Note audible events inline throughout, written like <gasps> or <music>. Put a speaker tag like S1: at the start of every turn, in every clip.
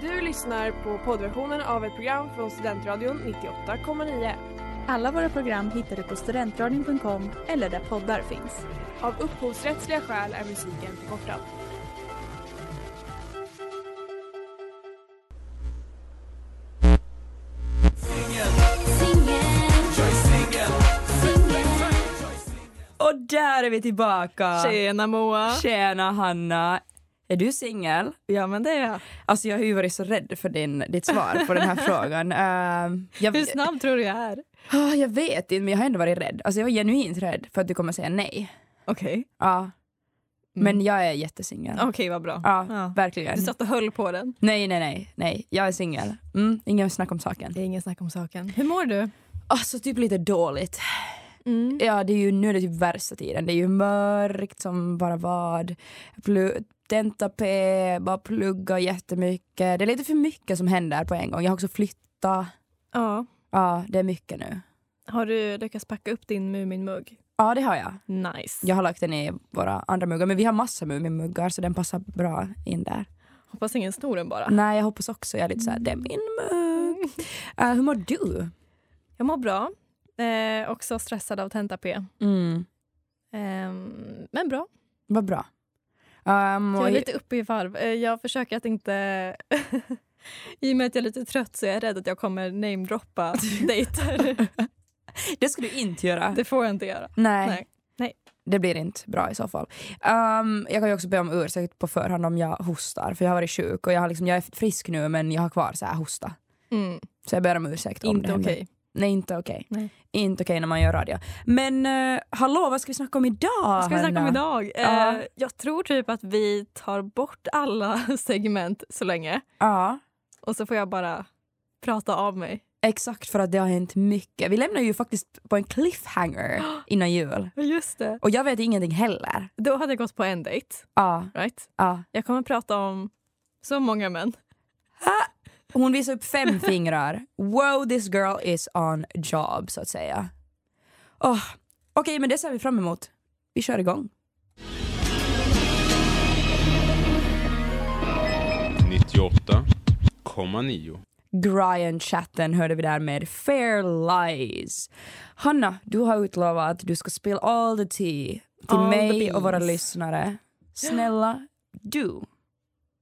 S1: Du lyssnar på poddversionen av ett program från Studentradion 98,9.
S2: Alla våra program hittar du på studentradion.com eller där poddar finns.
S1: Av upphovsrättsliga skäl är musiken förkortad.
S3: Och där är vi tillbaka!
S1: Tjena Moa!
S3: Tjena Hanna! Är du singel?
S1: Ja men det är jag.
S3: Alltså jag har ju varit så rädd för din, ditt svar på den här frågan. Uh, jag,
S4: Hur snabb tror du jag är?
S3: Ah, jag vet inte men jag har ändå varit rädd. Alltså jag var genuint rädd för att du kommer säga nej.
S4: Okej.
S3: Ja. Men jag är jättesingel.
S4: Okej, vad bra.
S3: Ja,
S4: Oh. Ja.
S3: verkligen.
S4: Du satt och höll på den.
S3: Nej, nej, nej, nej. Jag är singel. Mm, ingen snack om saken.
S4: är ingen snack om saken. Hur mår du?
S3: Alltså typ lite dåligt.
S4: Mm.
S3: Ja, det är ju, nu är det typ värsta tiden. Det är ju mörkt som bara vad. Plu- Tenta P, bara plugga jättemycket. Det är lite för mycket som händer på en gång. Jag har också flyttat.
S4: Ja.
S3: Ja, det är mycket nu.
S4: Har du lyckats packa upp din Muminmugg?
S3: Ja, det har jag.
S4: Nice.
S3: Jag har lagt den i våra andra muggar, men vi har massa Muminmuggar så den passar bra in där.
S4: Hoppas ingen snor den bara.
S3: Nej, jag hoppas också. Jag är lite såhär, det är min mugg. Eh, hur mår du?
S4: Jag mår bra. Eh, också stressad av tenta-P.
S3: Mm.
S4: Ehm, men bra.
S3: Vad bra. Ehm,
S4: Jag
S3: och-
S4: är lite uppe i varv. Eh, jag försöker att inte... <laughs> I och med att jag är lite trött så är jag rädd att jag kommer <laughs> namedroppa dejter.
S3: det ska du inte göra.
S4: Det får jag inte göra.
S3: Nej.
S4: Nej. Nej.
S3: Det blir inte bra i så fall. Ehm, jag kan ju också be om ursäkt på förhand om jag hostar, för jag har varit sjuk och jag, har liksom, jag är frisk nu men jag har kvar så här hosta.
S4: Mm.
S3: Så jag ber om ursäkt om det
S4: Inte okej.
S3: händer. Nej, inte okej.
S4: Nej.
S3: Inte okej när man gör radio. Men eh, hallå, vad ska vi snacka om idag?
S4: Vad ska vi snacka om
S3: Hanna?
S4: idag?
S3: Ja.
S4: Eh, jag tror typ att vi tar bort alla <laughs> segment så länge
S3: Ja,
S4: och så får jag bara prata av mig.
S3: exakt för att det har hänt mycket. Vi lämnar ju faktiskt på en cliffhanger <gasps> innan jul.
S4: Just det.
S3: Och jag vet ingenting heller.
S4: Då hade jag gått på en dejt.
S3: Ja,
S4: Right?
S3: ja.
S4: Jag kommer prata om så många män.
S3: Hon visar
S4: <laughs>
S3: upp fem fingrar. Wow, this girl is on job, så att säga. Oh. Okej, men det ser vi fram emot. Vi kör igång.
S5: komma nio.
S3: Brian Chatten hörde vi där med Fair Lies. Hanna, du har utlovat att du ska spill all the tea till
S4: All the
S3: mig och våra
S4: beans.
S3: lyssnare. Snälla,
S4: <gasps>
S3: du.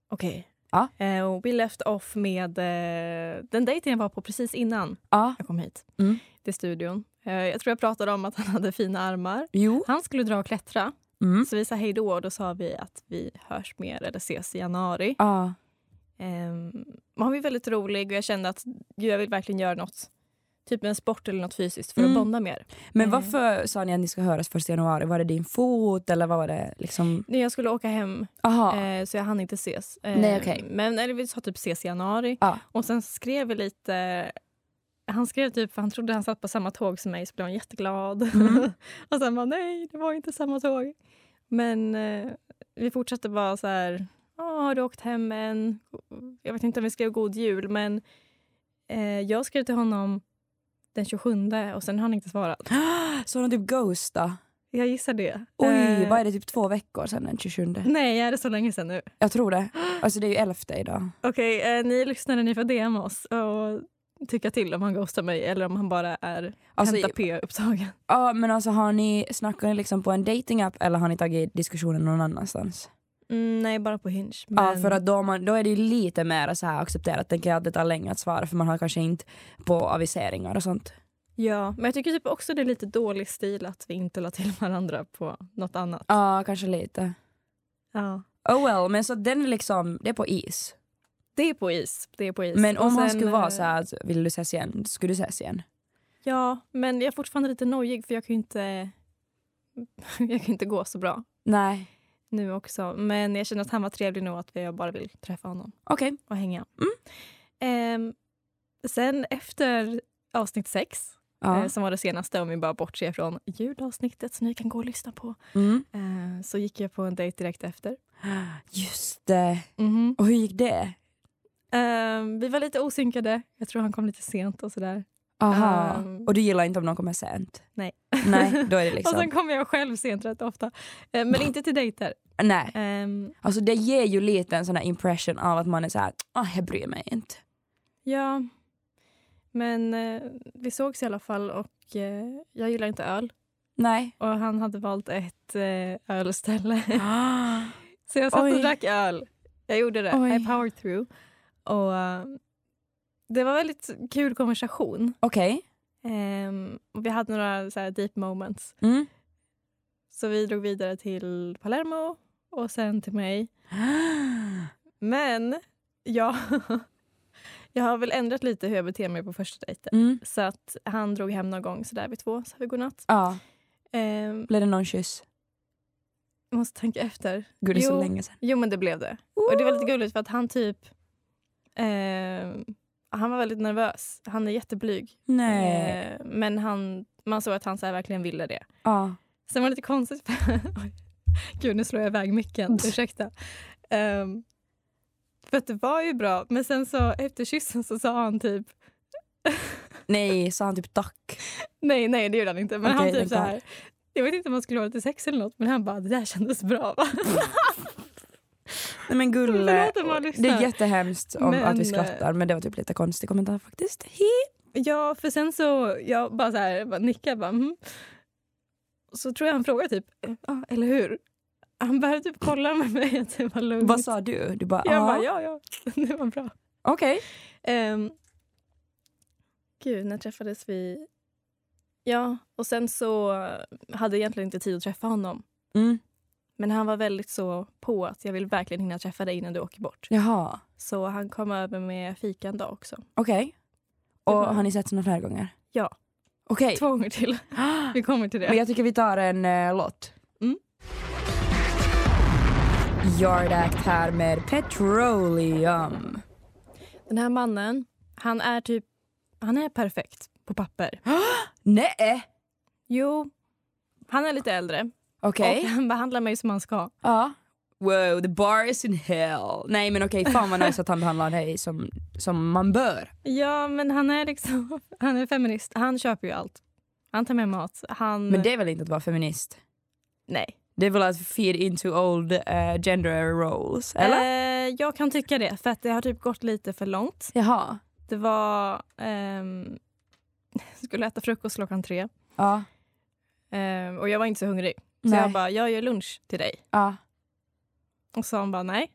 S4: Okej.
S3: Ja.
S4: Eh, och vi left off med eh, den dejten jag var på precis innan
S3: Ja,
S4: jag kom hit
S3: Mm.
S4: till studion. Eh, jag tror jag pratade om att han hade fina armar.
S3: jo.
S4: Han skulle dra och klättra,
S3: Mm.
S4: så vi sa hej då och då sa vi att vi hörs mer eller ses i januari.
S3: Ja,
S4: Um, han var väldigt rolig och jag kände att gud, jag vill verkligen göra något. Typ en sport eller något fysiskt för att
S3: Mm.
S4: bonda mer.
S3: Men
S4: Eh.
S3: varför sa ni att ni ska höras första januari? Var det din fot eller vad var det? Liksom?
S4: Nej, jag skulle åka hem
S3: Aha.
S4: eh, så jag hann inte ses. Eh,
S3: Nej, okej.
S4: Men eller vi sa typ ses i januari.
S3: Ja.
S4: Och sen skrev vi lite... Han skrev typ, för han trodde han satt på samma tåg som mig så blev han jätteglad.
S3: Mm.
S4: <laughs> och sen bara nej, det var inte samma tåg. Men eh, vi fortsatte bara så här, "Ja, har du åkt hem än? Jag vet inte om vi skrev god jul men eh, jag skrev till honom den 27 och sen har han inte svarat.
S3: Så har de typ ghosta?
S4: Jag gissar det.
S3: Oj,
S4: Eh,
S3: vad är det? Typ två veckor sedan den 27?
S4: Nej, är det så länge sedan nu?
S3: Jag tror det. Alltså det är ju 11 idag.
S4: Okej, eh, ni lyssnare, ni får DM oss och tycka till om han ghostar mig eller om han bara är
S3: Alltså,
S4: hämta P-upptagen.
S3: Ja, men alltså har ni, snackar ni liksom på en datingapp eller har ni tagit diskussionen någon annanstans?
S4: Mm, nej, bara på Hinge.
S3: Ja, för att då, man, då är det ju lite mer så här accepterat, tänker jag, att det tar längre att svara för man har kanske inte på aviseringar och sånt.
S4: ja, men jag tycker typ också det är lite dålig stil att vi inte la till varandra på något annat.
S3: Ja, kanske lite.
S4: Ja.
S3: Oh well, men så den är liksom, det är på is.
S4: Det är på is. Det är på is.
S3: Men om
S4: Och
S3: han
S4: sen,
S3: skulle
S4: eh,
S3: vara så här, att, vill du ses igen? Skulle du ses igen?
S4: Ja, men jag är fortfarande lite nojig för jag kan ju inte, <laughs> jag kan ju inte gå så bra
S3: Nej.
S4: nu också. Men jag känner att han var trevlig nog att jag bara vill träffa honom.
S3: Okej.
S4: och hänga. Mm. Ehm, sen efter avsnitt sex, eh,
S3: Ja.
S4: som var det senaste om vi bara bortser från ljudavsnittet som ni kan gå och lyssna på,
S3: Mm.
S4: eh, så gick jag på en dejt direkt efter.
S3: Just det. Mhm. Och hur gick det?
S4: Ehm, vi var lite osynkade. Jag tror han kom lite sent och sådär.
S3: Aha.
S4: Ehm.
S3: och du gillar inte om någon kommer sent?
S4: Nej.
S3: Nej, då är det
S4: <laughs>
S3: liksom...
S4: Och sen kommer jag själv sent rätt ofta. Eh, Men inte till dejter.
S3: Nej.
S4: Ehm,
S3: Alltså det ger ju lite en sån här impression av att man är så här, ah, jag bryr mig inte.
S4: Ja, men eh, vi sågs i alla fall och eh, jag gillar inte öl. <gasps>
S3: Nej.
S4: Och han hade valt ett eh, ölställe. Så jag satt
S3: Oj.
S4: och drack öl. Jag gjorde det.
S3: Oj.
S4: I powered through. Och eh, det var väldigt kul konversation.
S3: Okej.
S4: Ehm, och vi hade några så här, deep moments.
S3: Mm.
S4: Så vi drog vidare till Palermo och sen till mig. Men ja, <laughs> jag har väl ändrat lite hur jag beter mig på första dejten.
S3: Mm.
S4: Så att han drog hem någon gång sådär vid två, sa vi godnatt.
S3: Ja,
S4: Ehm,
S3: blev det någon kyss?
S4: jag måste tänka efter.
S3: Gud, det är så
S4: Jo.
S3: länge sedan.
S4: Jo men det blev det. Och det var lite gulligt för att han typ... ehm, han var väldigt nervös. Han är jätteblyg.
S3: Nej.
S4: Ehm, men han, man såg att han så här verkligen ville det.
S3: Ja.
S4: Sen var det lite konstigt. <laughs> Oj. Gud, nu slår jag iväg micken. Ursäkta. Um, för att det var ju bra, men sen så efter kyssen så sa han typ...
S3: Nej, sa han typ tack?
S4: Nej, nej, det gjorde han inte. Men
S3: Okej,
S4: han typ
S3: vänta.
S4: så här... Jag vet inte om han skulle ha till sex eller något, men han bara, det där kändes bra. Va?
S3: Nej men gulle.
S4: <laughs> Förlåt om man lyssnar.
S3: Det är jättehemskt om
S4: Men,
S3: att vi skrattar men det var typ lite konstig kommentar faktiskt. Hi.
S4: Ja, för sen så... Jag bara så här, bara nickade. Bara, mhm. Så tror jag han frågade typ, ja, eller hur? Han började typ kolla med mig att det var lugnt.
S3: Vad sa du? Du bara,
S4: Jag bara,
S3: ja.
S4: ja, ja, <laughs> det var bra.
S3: Okej.
S4: Ehm, gud, när träffades vi? Ja, och sen så hade jag egentligen inte tid att träffa honom.
S3: Mm.
S4: Men han var väldigt så på att jag vill verkligen hinna träffa dig innan du åker bort.
S3: Jaha.
S4: Så han kom över med fika en dag också.
S3: Okej. Och
S4: var-
S3: har ni sett såna flera gånger?
S4: Ja.
S3: Okej.
S4: Två gånger
S3: <gasps>
S4: till. Vi kommer till
S3: Men
S4: det.
S3: jag tycker vi tar en uh, låt.
S4: Mm.
S3: Yard Act här med Petroleum.
S4: Den här mannen, han är typ, han är perfekt på papper.
S3: Nej!
S4: Jo, han är lite äldre
S3: Okej.
S4: och han behandlar mig som han ska.
S3: Ja. Wow, the bar is in hell. Nej men okej, fan vad nice att han behandlar dig som, som man bör.
S4: Ja, men han är liksom, <laughs> han är feminist. Han köper ju allt. Han tar med mat. Han...
S3: Men det är väl inte att vara feminist?
S4: Nej.
S3: Det är väl att feed into old eh, gender roles, eller?
S4: Eh, jag kan tycka det, för att det har typ gått lite för långt.
S3: Jaha.
S4: Det var... ehm, <laughs> skulle äta frukost klockan tre
S3: Ja.
S4: Ehm, och jag var inte så hungrig. Så
S3: Nej.
S4: jag bara, jag gör lunch till dig.
S3: Ja.
S4: Och så han bara, nej.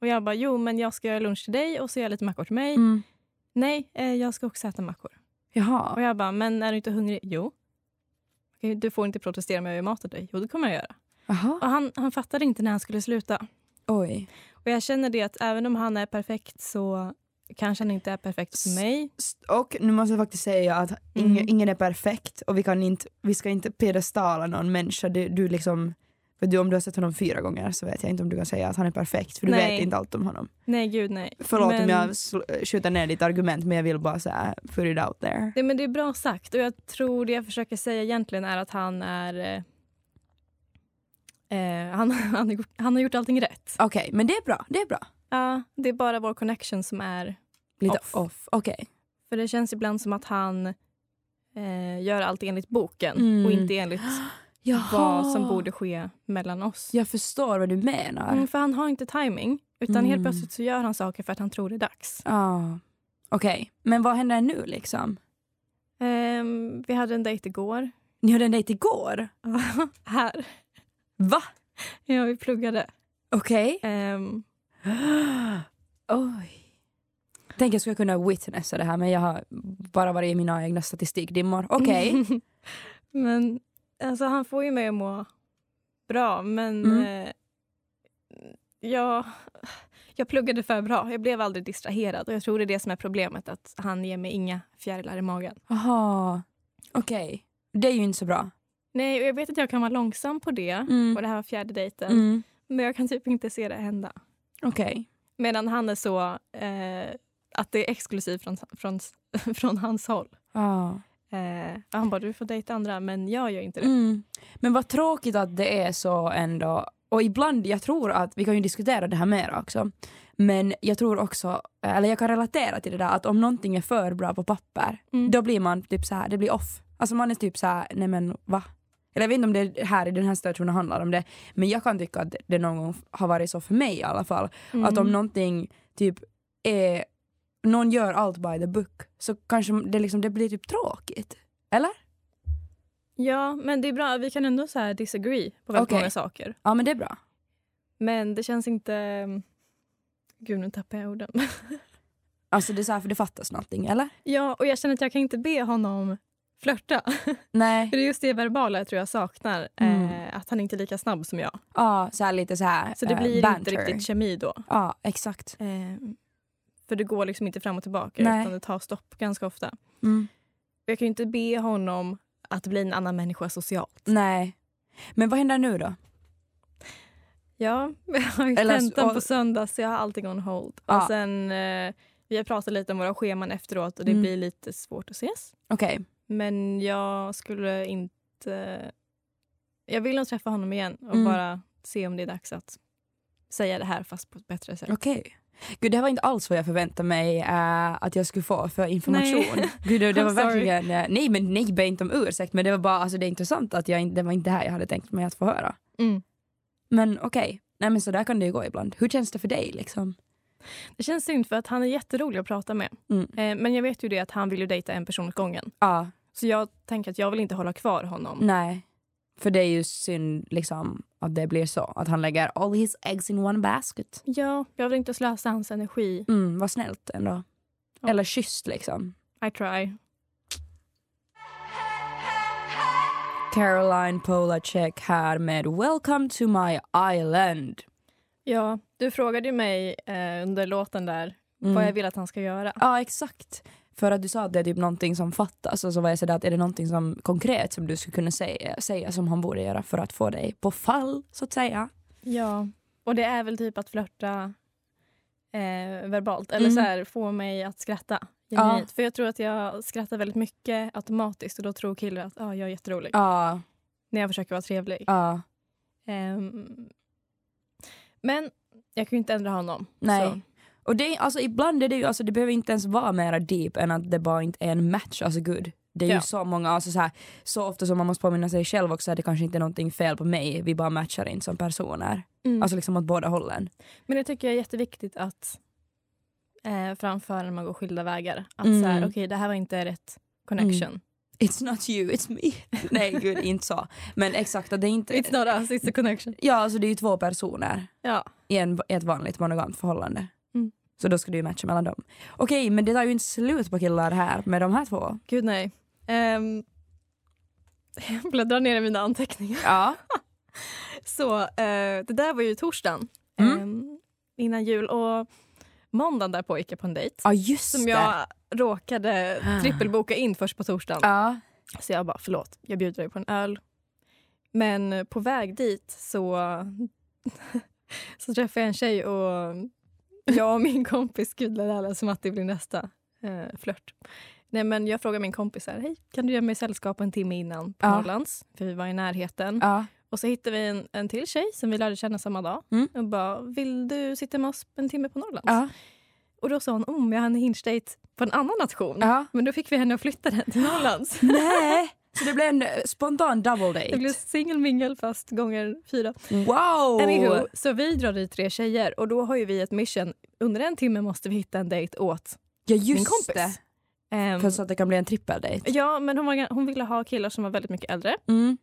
S4: Och jag bara, jo men jag ska göra lunch till dig och så gör jag lite mackor till mig.
S3: Mm.
S4: Nej, eh, jag ska också äta mackor. Och
S3: Jaha.
S4: jag bara, men är du inte hungrig? Jo. "Okej, Du får inte protestera om jag gör mat till dig. Jo, det kommer jag göra.
S3: Jaha.
S4: Och han, han fattade inte när han skulle sluta.
S3: Oj.
S4: Och jag känner det att även om han är perfekt så kanske han inte är perfekt för mig.
S3: S- Och nu måste jag faktiskt säga att ingen,
S4: Mm.
S3: ingen är perfekt och vi, kan inte, vi ska inte pedestala någon människa. Du, du liksom, för du, om du har sett honom fyra gånger så vet jag inte om du kan säga att han är perfekt för du
S4: Nej.
S3: vet inte allt om honom.
S4: Nej, gud nej.
S3: Förlåt
S4: men,
S3: om jag sl- eh, skjuter ner ditt argument men jag vill bara så här, put it out there.
S4: Nej, men det är bra sagt och jag tror det jag försöker säga egentligen är att han är... eh, Eh, han, <laughs> han, har gjort- han har gjort allting rätt.
S3: Okej, men det är bra. Det är bra.
S4: Ja, det är bara vår connection som är...
S3: Lite off.
S4: Off.
S3: Okej.
S4: För det känns ibland som att han eh, gör allt enligt boken
S3: Mm.
S4: och inte
S3: <gasps>
S4: enligt vad som borde ske mellan oss.
S3: Jag förstår vad du menar.
S4: Mm, för han har inte timing utan helt
S3: Mm.
S4: plötsligt så gör han saker för att han tror det är dags.
S3: Ah. Okej, men vad händer nu liksom?
S4: Ehm, vi hade en dejt igår.
S3: Ni hade en dejt igår?
S4: <laughs> Här.
S3: Va?
S4: Ja, vi pluggade.
S3: Okej.
S4: Ehm,
S3: <gasps> Oj. Tänk jag skulle kunna witnessa det här men jag har bara varit i mina egna statistikdimmor. Okej.
S4: <laughs> men alltså, han får ju mig att må bra, men
S3: Mm.
S4: eh, jag, jag pluggade för bra. Jag blev aldrig distraherad. Och Jag tror det är det som är problemet, att han ger mig inga fjärilar i magen.
S3: Jaha. Okej. Det är ju inte så bra.
S4: Nej, och Jag vet att jag kan vara långsam på det,
S3: Mm.
S4: och det här var fjärde dejten,
S3: Mm.
S4: men jag kan typ inte se det hända.
S3: Okej.
S4: Medan han är så... Eh, att det är exklusivt från, från, från hans håll.
S3: Ja.
S4: Eh, han bara, du får dejta andra, men jag gör inte det.
S3: Mm. Men vad tråkigt att det är så ändå och ibland, jag tror att, vi kan ju diskutera det här mer också, men jag tror också, eller jag kan relatera till det där att om någonting är för bra på papper,
S4: Mm.
S3: då blir man typ så här, det blir off. Alltså man är typ så här, nej men va? Eller jag vet inte om det här i den här situationen handlar om det, men jag kan tycka att det någon gång har varit så för mig i alla fall. Att
S4: Mm.
S3: om någonting typ är, någon gör allt by the book, så kanske det, liksom, det blir typ tråkigt. Eller?
S4: Ja, men det är bra. Vi kan ändå så här disagree på väldigt
S3: Okej.
S4: många saker.
S3: Ja men det är bra.
S4: Men det känns inte... mm, Gud, nu tappar jag orden. <laughs>
S3: Alltså det är så här för det fattas någonting, eller?
S4: ja, och jag känner att jag kan inte be honom flörta. <laughs>
S3: Nej.
S4: För det är just det verbala jag tror jag saknar.
S3: Mm.
S4: Eh, att han inte är lika snabb som jag.
S3: Ja, så här lite så här
S4: Så det
S3: eh,
S4: blir
S3: banter.
S4: inte riktigt kemi då.
S3: Ja, exakt.
S4: Eh, för det går liksom inte fram och tillbaka
S3: Nej.
S4: utan det tar stopp ganska ofta.
S3: Mm.
S4: Jag kan ju inte be honom att bli en annan människa socialt.
S3: Nej. Men vad händer nu då?
S4: Ja, <laughs> jag har ju
S3: Eller
S4: tentan
S3: så-
S4: på söndag så jag har allting on hold.
S3: Ja.
S4: Och sen, eh, vi har pratat lite om våra scheman efteråt och det
S3: Mm.
S4: blir lite svårt att ses.
S3: Okej.
S4: Men jag skulle inte... Jag vill nog träffa honom igen och
S3: Mm.
S4: bara se om det är dags att säga det här fast på ett bättre sätt.
S3: Okej. Gud, det här var inte alls vad jag förväntade mig eh, att jag skulle få för information.
S4: Nej.
S3: Gud, det, det
S4: I'm <laughs>
S3: var
S4: sorry.
S3: verkligen... eh, nej, men nej, be inte om ursäkt. Men det var bara, alltså det är intressant att jag, inte- det var inte det här jag hade tänkt mig att få höra.
S4: Mm.
S3: Men okej. Nej men så där kan det ju gå ibland. Hur känns det för dig liksom?
S4: Det känns synd för att han är jätterolig att prata med.
S3: Mm.
S4: Eh, men jag vet ju det att han vill ju dejta en person åt gången.
S3: Ja,
S4: Så jag tänker att jag vill inte hålla kvar honom.
S3: nej. För det är ju synd liksom att det blir så. Att han lägger all his eggs in one basket.
S4: Ja, jag vill inte slösa hans energi.
S3: Mm, vad snällt ändå.
S4: Ja.
S3: Eller kysst liksom.
S4: I try.
S3: Caroline Polacek här med Welcome to my island.
S4: Ja, du frågade ju mig eh, under låten där
S3: Mm.
S4: vad jag vill att han ska göra.
S3: Ja, exakt. För att du sa att det är typ någonting som fattas och så var jag sådär att är det någonting som konkret som du skulle kunna säga, säga som han borde göra för att få dig på fall så att säga.
S4: Ja, och det är väl typ att flörta eh, verbalt eller
S3: Mm.
S4: så här, få mig att skratta.
S3: Ja.
S4: genuint. För jag tror att jag skrattar väldigt mycket automatiskt och då tror killar att ah, jag är jätterolig
S3: Ja,
S4: när jag försöker vara trevlig.
S3: ja,
S4: Ehm, men jag kan ju inte ändra honom.
S3: nej.
S4: Så.
S3: Och det, är- alltså, ibland är det ju, alltså, det behöver inte ens vara mera deep än att det bara inte är en match, alltså gud. Det är
S4: Ja.
S3: ju så många, alltså så, här, så ofta som man måste påminna sig själv också att det kanske inte är någonting fel på mig, vi bara matchar inte som personer.
S4: Mm.
S3: Alltså liksom åt båda hållen.
S4: Men det tycker jag är jätteviktigt att eh, framföra när man går skilda vägar. Att
S3: Mm.
S4: så här, okej det här var inte rätt connection.
S3: It's not you, it's me. Nej gud, inte så. <laughs> Men exakt att det är inte...
S4: It's not us, it's a connection.
S3: Ja, alltså det är ju två personer
S4: Ja.
S3: i, en, i ett vanligt monogamt förhållande.
S4: Mm.
S3: Så då ska det ju matcha mellan dem. Okej, men det tar ju inte slut på killar här med de här två.
S4: Gud nej. Ehm, <laughs> jag bläddrar ner i mina anteckningar. <laughs>
S3: Ja.
S4: Så eh, det där var ju torsdagen
S3: Mm.
S4: ehm, innan jul och måndagen därpå gick jag på en dejt.
S3: Ja, just
S4: Som
S3: det.
S4: jag råkade
S3: Ah.
S4: trippelboka in först på torsdagen.
S3: Ja.
S4: Så jag bara förlåt, jag bjuder dig på en öl. Men på väg dit så, <laughs> så träffade jag en tjej och jag och min kompis, gud det här lät som att det blir nästa eh, flört. Nej men jag frågade min kompis så här, hej kan du göra mig sällskap en timme innan på
S3: Ja.
S4: Norrlands? För vi var i närheten.
S3: ja.
S4: Och så hittade vi en, en till tjej som vi lärde känna samma dag.
S3: Mm.
S4: Och bara, vill du sitta med oss en timme på Norrlands?
S3: ja.
S4: Och då sa hon, om jag har en hinge-date på en annan nation. <laughs>
S3: ja.
S4: Men då fick vi henne att flytta den till Norrlands.
S3: Nej. Så det blev en eh, spontan double date.
S4: Det blev singelmingel fast gånger fyra.
S3: Wow!
S4: Anywho, så vi drar dit tre tjejer och då har ju vi ett mission. Under en timme måste vi hitta en dejt åt
S3: Ja, just
S4: min kompis.
S3: det.
S4: Ehm,
S3: För så att det kan bli en trippeldate.
S4: ja, men hon, var, hon ville ha killar som var väldigt mycket äldre.
S3: Mm.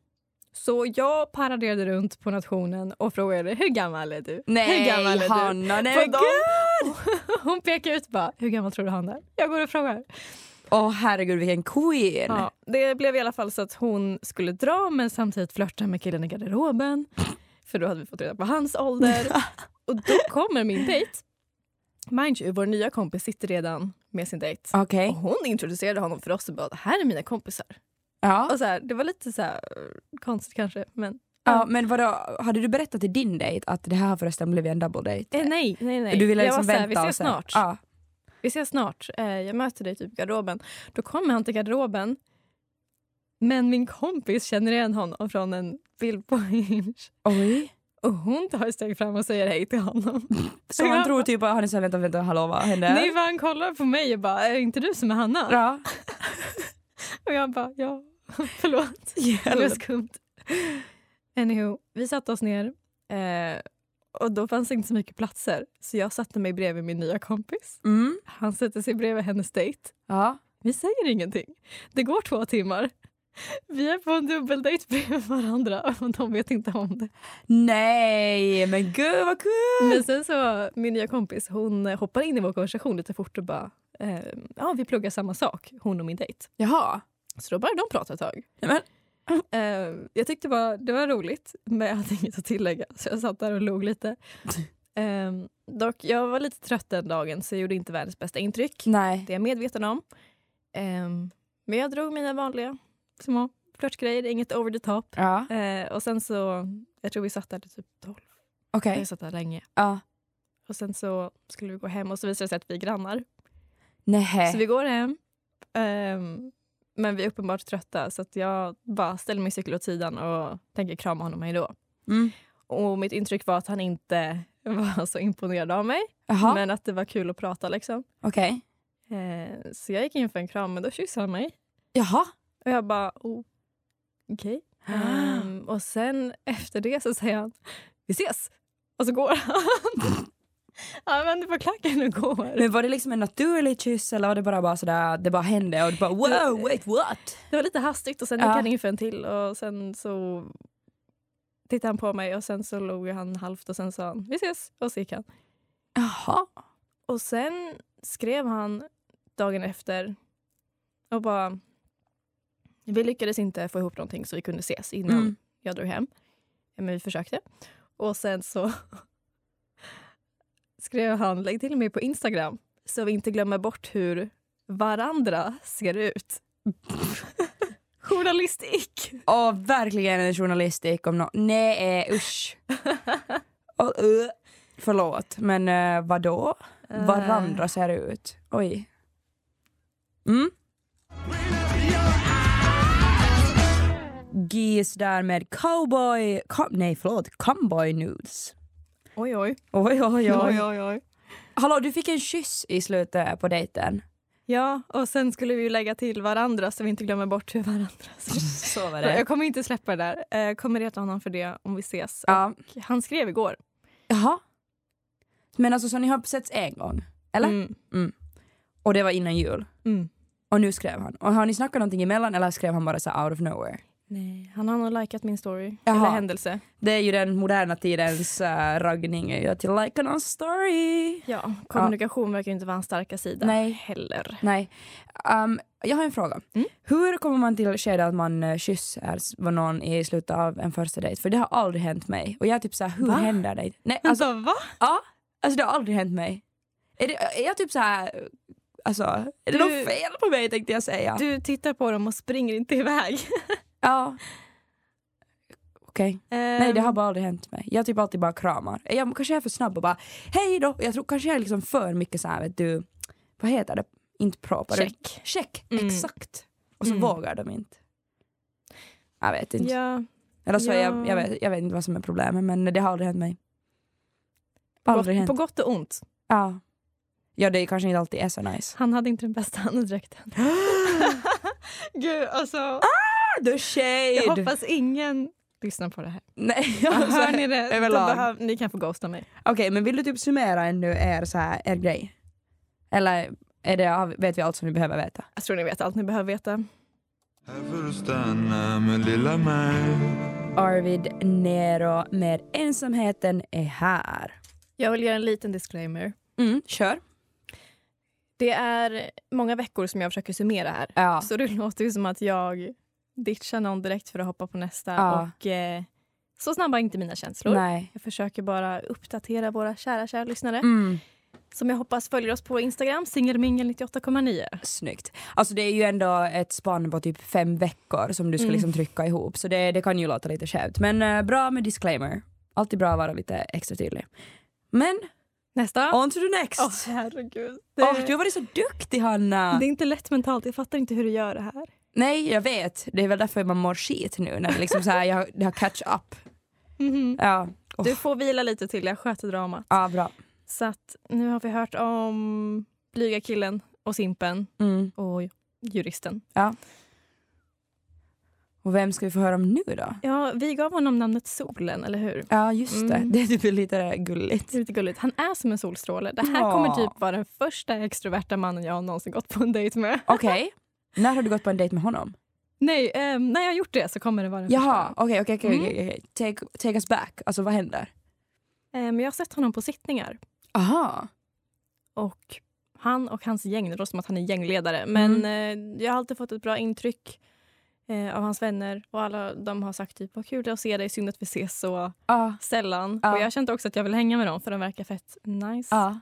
S4: Så jag paraderade runt på nationen och frågade hur gammal är du? hur gammal
S3: Nej,
S4: är du?
S3: Hanna, nej
S4: På
S3: men gud!
S4: dem. <laughs> Hon pekar ut bara, hur gammal tror du han är? Jag går och frågar.
S3: Åh herregud vilken queen!
S4: Ja, det blev i alla fall så att hon skulle dra men samtidigt flörta med killen i garderoben. För då hade vi fått reda på hans ålder. <laughs> Och då kommer min dejt. Mind you, vår nya kompis sitter redan med sin dejt.
S3: Okej.
S4: Och hon introducerade honom för oss och bara, det här är mina kompisar.
S3: Ja.
S4: Och så här, det var lite så här, eh, konstigt kanske, men
S3: ja. Men vadå, hade du berättat till din dejt att det här har förresten blivit en double date?
S4: eh, nej, nej, nej.
S3: Du ville
S4: jag
S3: liksom
S4: var så här,
S3: vänta
S4: vi ses
S3: och sen-
S4: snart.
S3: Ja.
S4: Vi ses snart. Eh, jag möter dig typ i garderoben. Då kommer han till garderoben. Men min kompis känner igen honom från en bild på <laughs> Hinge.
S3: Oj.
S4: Och hon tar ett steg fram och säger hej till honom.
S3: Så han
S4: Ja.
S3: tror typ att han är såhär, vänta, vänta, hallå, vad händer?
S4: Nej, för han kollar på mig och bara, är det inte du som är Hanna?
S3: Ja.
S4: Och jag bara, ja, <laughs> förlåt. Det var skumt. Anywho, vi satte oss ner eh, och då fanns det inte så mycket platser. Så jag satte mig bredvid min nya kompis.
S3: Mm.
S4: Han sätter sig bredvid hennes dejt.
S3: Ja.
S4: Vi säger ingenting. Det går två timmar. Vi är på en dubbeldejt bredvid varandra och de vet inte om det.
S3: Nej, men gud vad kul!
S4: Men sen så, min nya kompis, hon eh, hoppar in i vår konversation lite fort och bara eh, ja, vi pluggar samma sak, hon och min dejt.
S3: Jaha.
S4: Så då började de prata ett tag.
S3: Nämen.
S4: Eh, jag tyckte bara det var roligt, men jag hade inget att tillägga så jag satt där och log lite. Eh, dock, jag var lite trött den dagen så jag gjorde inte världens bästa intryck.
S3: Nej.
S4: Det är jag medveten om. Eh, men jag drog mina vanliga små flörtgrejer, inget over the top.
S3: Ja.
S4: Eh, och sen så, jag tror vi satt där till typ 12.
S3: Okej.
S4: Jag satt där länge.
S3: Ja.
S4: Och sen så skulle vi gå hem och så visade det sig att vi är grannar. Så
S3: Nej.
S4: vi går hem. Ehm, men vi är uppenbart trötta så att jag bara ställer min cykel åt sidan och tänker krama honom hej då.
S3: Mm.
S4: Och mitt intryck var att han inte <laughs> var så imponerad av mig.
S3: Jaha.
S4: Men att det var kul att prata liksom.
S3: Okej.
S4: Eh, så jag gick in för en kram men då kysste han mig.
S3: Jaha.
S4: Och jag bara oh, okej. Ehm, och sen efter det så säger han vi ses. Och så går han. han vänder på klacken och går.
S3: Men var det liksom en naturlig kyss eller var det bara, bara sådär, det bara hände och du bara wow, wait what?
S4: Det var lite hastigt och sen
S3: Ja.
S4: gick han in för en till och sen så tittade han på mig och sen så log han halvt och sen sa han vi ses och så gick han.
S3: Jaha.
S4: Och sen skrev han dagen efter och bara vi lyckades inte få ihop någonting så vi kunde ses innan
S3: Mm.
S4: jag drog hem. Men vi försökte. Och sen så <laughs> skrev han lägg till mig på Instagram så vi inte glömmer bort hur varandra ser ut. <laughs> Journalistik!
S3: Åh, verkligen en journalistik om något. Nej usch. Och, uh, förlåt men uh, vadå? Varandra ser ut. Oj. Mm. Geese där med cowboy, com, nej förlåt, cowboy nudes.
S4: Eh, Oj, oj.
S3: Oj oj oj.
S4: oj, oj.
S3: Hallå du fick en kyss i slutet på dejten.
S4: Ja, och sen skulle vi ju lägga till varandra så vi inte glömmer bort hur varandra ser ut.
S3: Så var
S4: Jag kommer inte släppa det där. Eh, Jag kommer reta honom för det om vi ses.
S3: Ja.
S4: Och han skrev igår.
S3: Jaha. Men alltså så ni har setts en gång? Eller?
S4: Mm.
S3: Och det var innan jul?
S4: Mm.
S3: Och nu skrev han. Och har ni snackat någonting emellan eller skrev han bara så här out of nowhere?
S4: Nej, han har nog likat min story.
S3: Jaha.
S4: Eller händelse.
S3: Det är ju den moderna tidens äh, raggning, är ju att jag likar någon story.
S4: Ja, kommunikation verkar ju inte vara hans starka sida
S3: Nej.
S4: heller.
S3: Nej. Ehm, jag har en fråga.
S4: Mm.
S3: Hur kommer man till skedet att man uh, kysser s- var någon i slutet av en första dejt? För det har aldrig hänt mig. Och jag är typ såhär, hur
S4: Va?
S3: händer det? Nej, alltså,
S4: Alltså va?
S3: alltså det har aldrig hänt mig. Är, det, är jag typ såhär, alltså, är det
S4: Du-
S3: något fel på mig tänkte jag säga.
S4: Du tittar på dem och springer inte iväg.
S3: Ja. Okej. Nej det
S4: Ehm.
S3: har bara aldrig hänt mig. Jag typ alltid bara kramar. Jag kanske är för snabb och bara hej då. Jag tror kanske jag är liksom för mycket så här vet du, vad heter det? Inte propar.
S4: Ehm, Check.
S3: Check,
S4: Mm.
S3: exakt. Och så
S4: Mm.
S3: vågar de inte. Jag vet inte.
S4: Ja,
S3: Eller så är jag,
S4: ja.
S3: jag, vet, jag vet inte vad som är problemet men det har aldrig hänt mig. Aldrig
S4: gott,
S3: hänt.
S4: på gott och ont.
S3: Ja. ja det kanske inte alltid är så nice.
S4: Han hade inte den bästa andedräkten. <gasps> <laughs> Gud, alltså.
S3: The shade!
S4: Jag hoppas ingen lyssnar på det <laughs> här.
S3: <laughs> Nej, alltså,
S4: Hör ni det?
S3: överlag.
S4: Då behöv, ni kan få ghosta mig.
S3: Okej, men vill du typ summera ännu er, så här, er grej? Eller är det, vet vi allt som vi behöver veta?
S4: Jag Alltså, tror ni vet allt ni behöver veta.
S5: Här får du stanna med lilla mig
S3: Arvid Nero med Ensamheten är här.
S4: Jag vill göra en liten disclaimer.
S3: Mm, kör.
S4: Det är många veckor som jag försöker summera här.
S3: Ja.
S4: Så det <laughs> låter ju som att jag ditchar någon direkt för att hoppa på nästa.
S3: Ja.
S4: Och eh, Så snabba är inte mina känslor.
S3: Nej.
S4: Jag försöker bara uppdatera våra kära, kära lyssnare
S3: Mm.
S4: som jag hoppas följer oss på Instagram, singelmingel98,9.
S3: Snyggt. Alltså det är ju ändå ett spann på typ fem veckor som du ska
S4: Mm.
S3: liksom trycka ihop så det, det kan ju låta lite skevt. Men eh, bra med disclaimer. Alltid bra att vara lite extra tydlig. Men
S4: Nästa!
S3: on to the next!
S4: Åh, herregud. Det,
S3: Åh, du har varit så duktig Hanna!
S4: det är inte lätt mentalt. Jag fattar inte hur du gör det här.
S3: Nej jag vet, det är väl därför man mår skit nu när det liksom så här, jag, det har catch up.
S4: Mhm.
S3: Ja.
S4: Du får vila lite till, jag sköter dramat.
S3: Ja, bra.
S4: Så att nu har vi hört om blyga killen och simpen
S3: Mm.
S4: och juristen.
S3: Och vem ska vi få höra om nu då?
S4: Ja, vi gav honom namnet Solen, eller hur?
S3: Ja, just det.
S4: Mm.
S3: Det är typ lite gulligt.
S4: Det är lite gulligt. Han är som en solstråle. Det här kommer
S3: Ja.
S4: typ vara den första extroverta mannen jag någonsin gått på en dejt med.
S3: Okej. När har du gått på en dejt med honom?
S4: Nej, ehm, när jag har gjort det så kommer det vara den
S3: Jaha,
S4: första.
S3: okej, okej, okej,
S4: Mm.
S3: okej. okej. Take, take us back. Alltså vad händer?
S4: Ehm, jag har sett honom på sittningar.
S3: Aha.
S4: Och han och hans gäng, det låter som att han är gängledare. Men
S3: Mm.
S4: eh, jag har alltid fått ett bra intryck eh, av hans vänner. Och alla de har sagt typ, vad kul det är att se dig, synd att vi ses så
S3: Ja.
S4: sällan.
S3: Ja.
S4: Och jag kände också att jag vill hänga med dem för de verkar fett nice.
S3: Ja.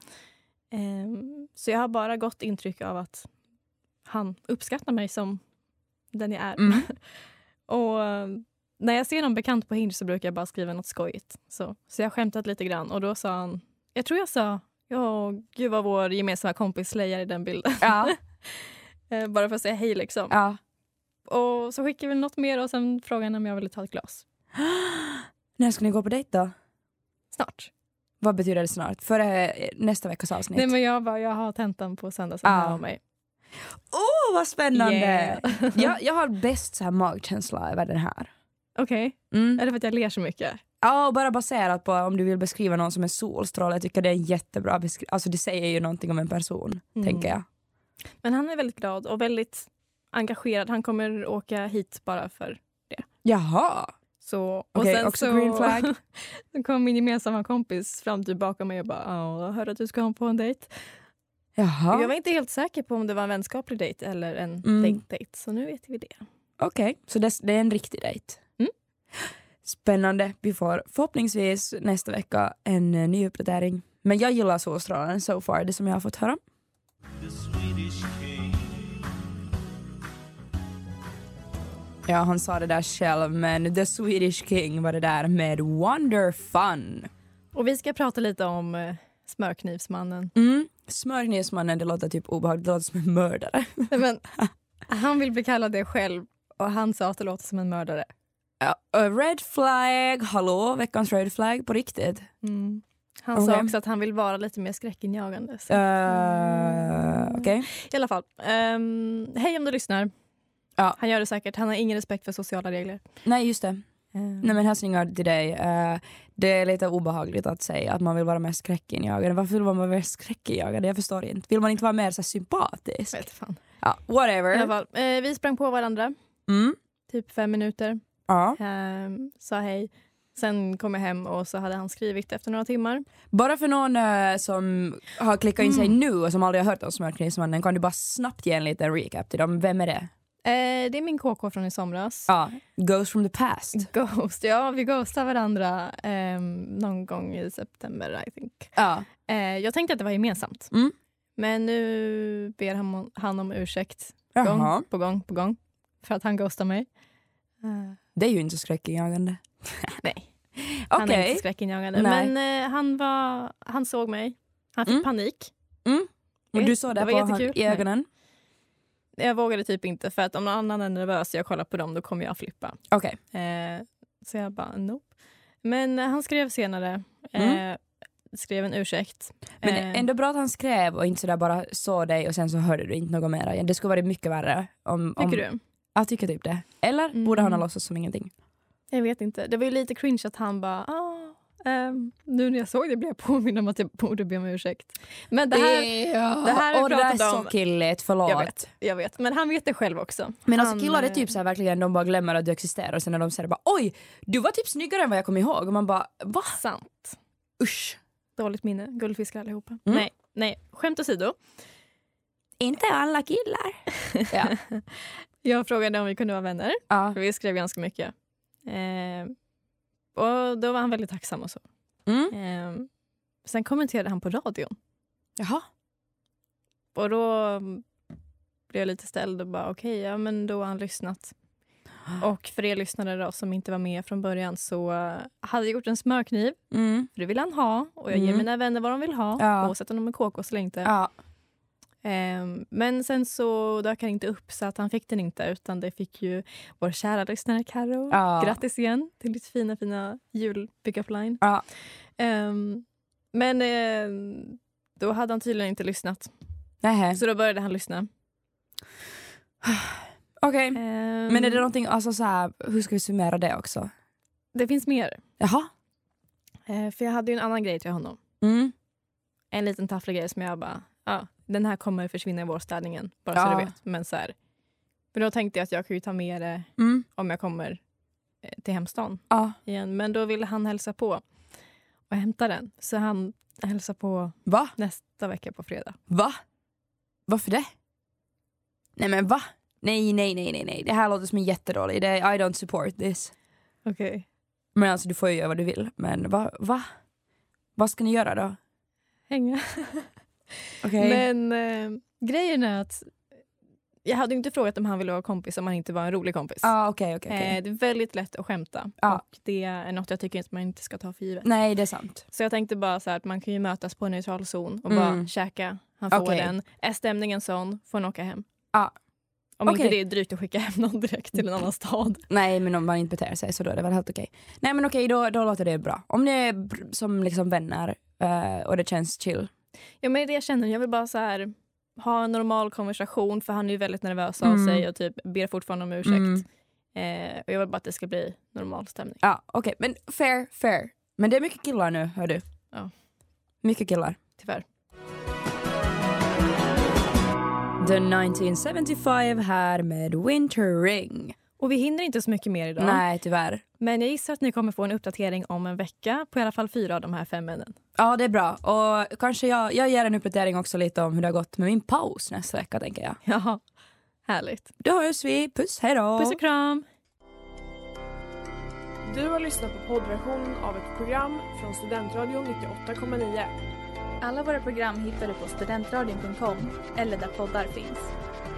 S4: Ehm, så jag har bara gott intryck av att han uppskattar mig som den jag är.
S3: Mm.
S4: Och eh, när jag ser någon bekant på Hinge så brukar jag bara skriva något skojigt. Så, så jag har skämtat lite grann och då sa han, jag tror jag sa, ja gud vad vår gemensamma kompis slöjar i den bilden. <laughs>
S3: Ja.
S4: Eh, bara för att säga hej liksom.
S3: ja.
S4: Och så skickade vi något mer och sen frågade han om jag ville ta ett glas.
S3: När ska ni gå på dejt då?
S4: Snart.
S3: Vad betyder det snart? Före eh, nästa veckas avsnitt?
S4: Nej men jag bara, jag har tentan på söndag så
S3: Ja.
S4: hör av mig.
S3: Åh vad Ah, spännande!
S4: Yeah. <laughs>
S3: jag, jag har bäst så här magkänsla över den här.
S4: Okej,
S3: Mm.
S4: är det för att jag ler så mycket?
S3: Ja, och bara baserat på om du vill beskriva någon som en solstråle, jag tycker det är en jättebra beskrivning. Alltså det säger ju någonting om en person,
S4: Mm.
S3: tänker jag.
S4: Men han är väldigt glad och väldigt engagerad. Han kommer åka hit bara för
S3: Jaha!
S4: så.
S3: Okej,
S4: och sen
S3: också
S4: så,
S3: green flag.
S4: <laughs> Sen kom min gemensamma kompis fram till bakom mig och bara "Ja, “jag hörde att du ska ha på en dejt”.
S3: Jaha,
S4: Jag var inte helt säker på om det var en vänskaplig dejt eller en
S3: Mm.
S4: dejtdejt, så nu vet vi det.
S3: okej. Så det, det är en riktig dejt.
S4: Mm.
S3: Spännande. Vi får förhoppningsvis nästa vecka en eh, ny uppdatering. Men jag gillar solstrålen so far, det som jag har fått höra. Ja, han sa det där själv, men The Swedish King var det där med Wonder Fun.
S4: Och vi ska prata lite om eh, smörknivsmannen.
S3: Mm. Smörknivsmannen, det låter typ obehagligt, det låter som en mördare.
S4: Nej, <laughs> Men, han vill bli kallad det själv och han sa att det låter som en mördare.
S3: Ja, a red flag, hallå, veckans red flag på riktigt.
S4: Mm. Han
S3: Okej.
S4: sa också att han vill vara lite mer skräckinjagande. Så.
S3: Eh, Okej.
S4: I alla fall, ehm, hej om du lyssnar.
S3: Ja.
S4: Han gör det säkert, han har ingen respekt för sociala regler.
S3: Nej, just det.
S4: Ehm,
S3: Nej men hälsningar till dig. Eh, det är lite obehagligt att säga att man vill vara mer skräckinjagande. Varför vill man vara mer skräckinjagande? Jag förstår inte. Vill man inte vara mer så här, sympatisk?
S4: jag vet fan.
S3: Ja,
S4: I alla
S3: whatever.
S4: fall, eh, vi sprang på varandra,
S3: Mm.
S4: typ fem minuter.
S3: Ja.
S4: Ehm, sa hej. Sen kom jag hem och så hade han skrivit efter några timmar.
S3: Bara för någon eh, som har klickat in sig nu och som aldrig har hört om Smörknivsmannen kan du bara snabbt ge en liten recap till dem. Vem är det?
S4: Eh, det är min KK från i somras.
S3: Ja, Mm. Ghost from the past.
S4: Ghost, ja vi ghostade varandra ehm, någon gång i september I think.
S3: Ja.
S4: Eh, jag tänkte att det var gemensamt.
S3: Mm.
S4: Men nu ber han, han om ursäkt
S3: Jaha.
S4: gång på gång på gång för att han ghostade mig. Eh,
S3: Det är ju inte så skräckinjagande.
S4: nej, han är
S3: Okej.
S4: inte skräckinjagande.
S3: Nej.
S4: Men eh, han, var, han såg mig, han fick
S3: Mm.
S4: panik.
S3: Och du såg det,
S4: Det var
S3: på han,
S4: jättekul.
S3: i ögonen?
S4: Jag vågade typ inte för att om någon annan är nervös och jag kollar på dem då kommer jag flippa.
S3: Okej.
S4: Eh, så jag bara nope. Men eh, han skrev senare.
S3: Mm.
S4: Eh, skrev en ursäkt.
S3: Men
S4: eh,
S3: ändå bra att han skrev och inte sådär bara såg dig och sen så hörde du inte något mer. Det skulle varit mycket värre. Om, om,
S4: Tycker du?
S3: Jag tycker typ det. Eller borde han ha
S4: Mm.
S3: låtsats som ingenting?
S4: Jag vet inte. Det var ju lite cringe att han bara ah, ehm, nu när jag såg det blev jag påmind om att jag borde be om ursäkt. Men det här, det här har vi
S3: och det där är
S4: pratat
S3: så
S4: om.
S3: killigt, förlåt.
S4: Jag vet. jag vet. Men han vet det själv också.
S3: Men
S4: Han,
S3: alltså killar är
S4: eh,
S3: typ såhär verkligen, de bara glömmer att du existerar och sen när de säger bara oj, du var typ snyggare än vad jag kom ihåg och man bara va?
S4: Sant.
S3: Usch.
S4: Dåligt minne. Guldfiskar allihopa.
S3: Mm.
S4: Nej, nej. Skämt åsido.
S3: Inte
S4: <laughs>
S3: alla killar. ja.
S4: Jag frågade om vi kunde vara vänner.
S3: ja.
S4: För vi skrev ganska mycket. Eh, och då var han väldigt tacksam och så.
S3: Mm.
S4: Eh, sen kommenterade han på radion.
S3: Jaha.
S4: Och då mm, blev jag lite ställd och bara okej, ja men då har han lyssnat. Och för er lyssnare då som inte var med från början så eh, hade jag gjort en smörkniv,
S3: Mm.
S4: för det vill han ha. Och jag ger
S3: Mm.
S4: mina vänner vad de vill ha,
S3: Ja.
S4: oavsett om de är KKs eller inte.
S3: Ja.
S4: Ehm, men sen så dök han inte upp så att han fick den inte utan det fick ju vår kära lyssnare Karo.
S3: Ja.
S4: Grattis igen till ditt fina fina julpick-up-line.
S3: Ja.
S4: Ehm, men ehm, då hade han tydligen inte lyssnat.
S3: Nähä.
S4: Så då började han lyssna.
S3: Okej.
S4: Ehm,
S3: Men är det någonting, alltså så här, hur ska vi summera det också?
S4: det finns mer.
S3: Jaha.
S4: Ehm, för jag hade ju en annan grej till honom.
S3: Mm.
S4: En liten tafflig grej som jag bara, ja, den här kommer försvinna i vårstädningen. Bara så
S3: Ja.
S4: du vet. Men så här. Men då tänkte jag att jag kan ju ta med det
S3: Mm.
S4: om jag kommer eh, till hemstan
S3: Ja.
S4: igen. Men då ville han hälsa på och hämta den. Så han hälsar på
S3: Va?
S4: nästa vecka på fredag.
S3: Va? Varför det? Nej men va? Nej, nej, nej, nej, nej. Det här låter som en jättedålig idé. I don't support this.
S4: Okej.
S3: Men alltså du får ju göra vad du vill. Men va? va? Vad ska ni göra då?
S4: Hänga.
S3: Okej.
S4: Men eh, grejen är att jag hade ju inte frågat om han ville vara kompis om han inte var en rolig kompis.
S3: Ja, okej, Ah, okej, okej. Ah.
S4: Eh, det är väldigt lätt att skämta
S3: Ja.
S4: och det är något jag tycker att man inte ska ta för givet.
S3: Nej, det är sant.
S4: Så jag tänkte bara så här att man kan ju mötas på en neutral zon och
S3: Mm.
S4: bara käka. Han får
S3: Okej.
S4: den. Är stämningen sån får han åka hem.
S3: Ja.
S4: Om
S3: Okej.
S4: inte det är drygt att skicka hem någon direkt till en annan stad.
S3: Nej, men om man inte beter sig så då är det väl helt okej. Nej, men okej, då, då låter det bra. Om ni är br- som liksom vänner eh, och det känns chill.
S4: Ja, men det är det jag känner. Jag vill bara så här, ha en normal konversation för han är ju väldigt nervös av
S3: Mm.
S4: sig och typ ber fortfarande om ursäkt.
S3: Mm.
S4: Eh, och jag vill bara att det ska bli normal stämning.
S3: Ja, okej, men fair, fair. Men det är mycket killar nu, hör du.
S4: Ja.
S3: Mycket killar.
S4: Tyvärr.
S3: The 1975 här med Wintering.
S4: Och vi hinner inte så mycket mer idag.
S3: Nej, tyvärr.
S4: Men jag gissar att ni kommer få en uppdatering om en vecka på i alla fall fyra av de här fem männen. <laughs>
S3: Ja, det är bra. Och kanske jag, jag ger en uppdatering också lite om hur det har gått med min paus nästa vecka, tänker jag.
S4: Jaha, härligt.
S3: Då hörs vi. Puss, hej då!
S4: Puss och kram!
S1: Du har lyssnat på poddversionen av ett program från Studentradion 98,9.
S2: Alla våra program hittar du på studentradion.com eller där poddar finns.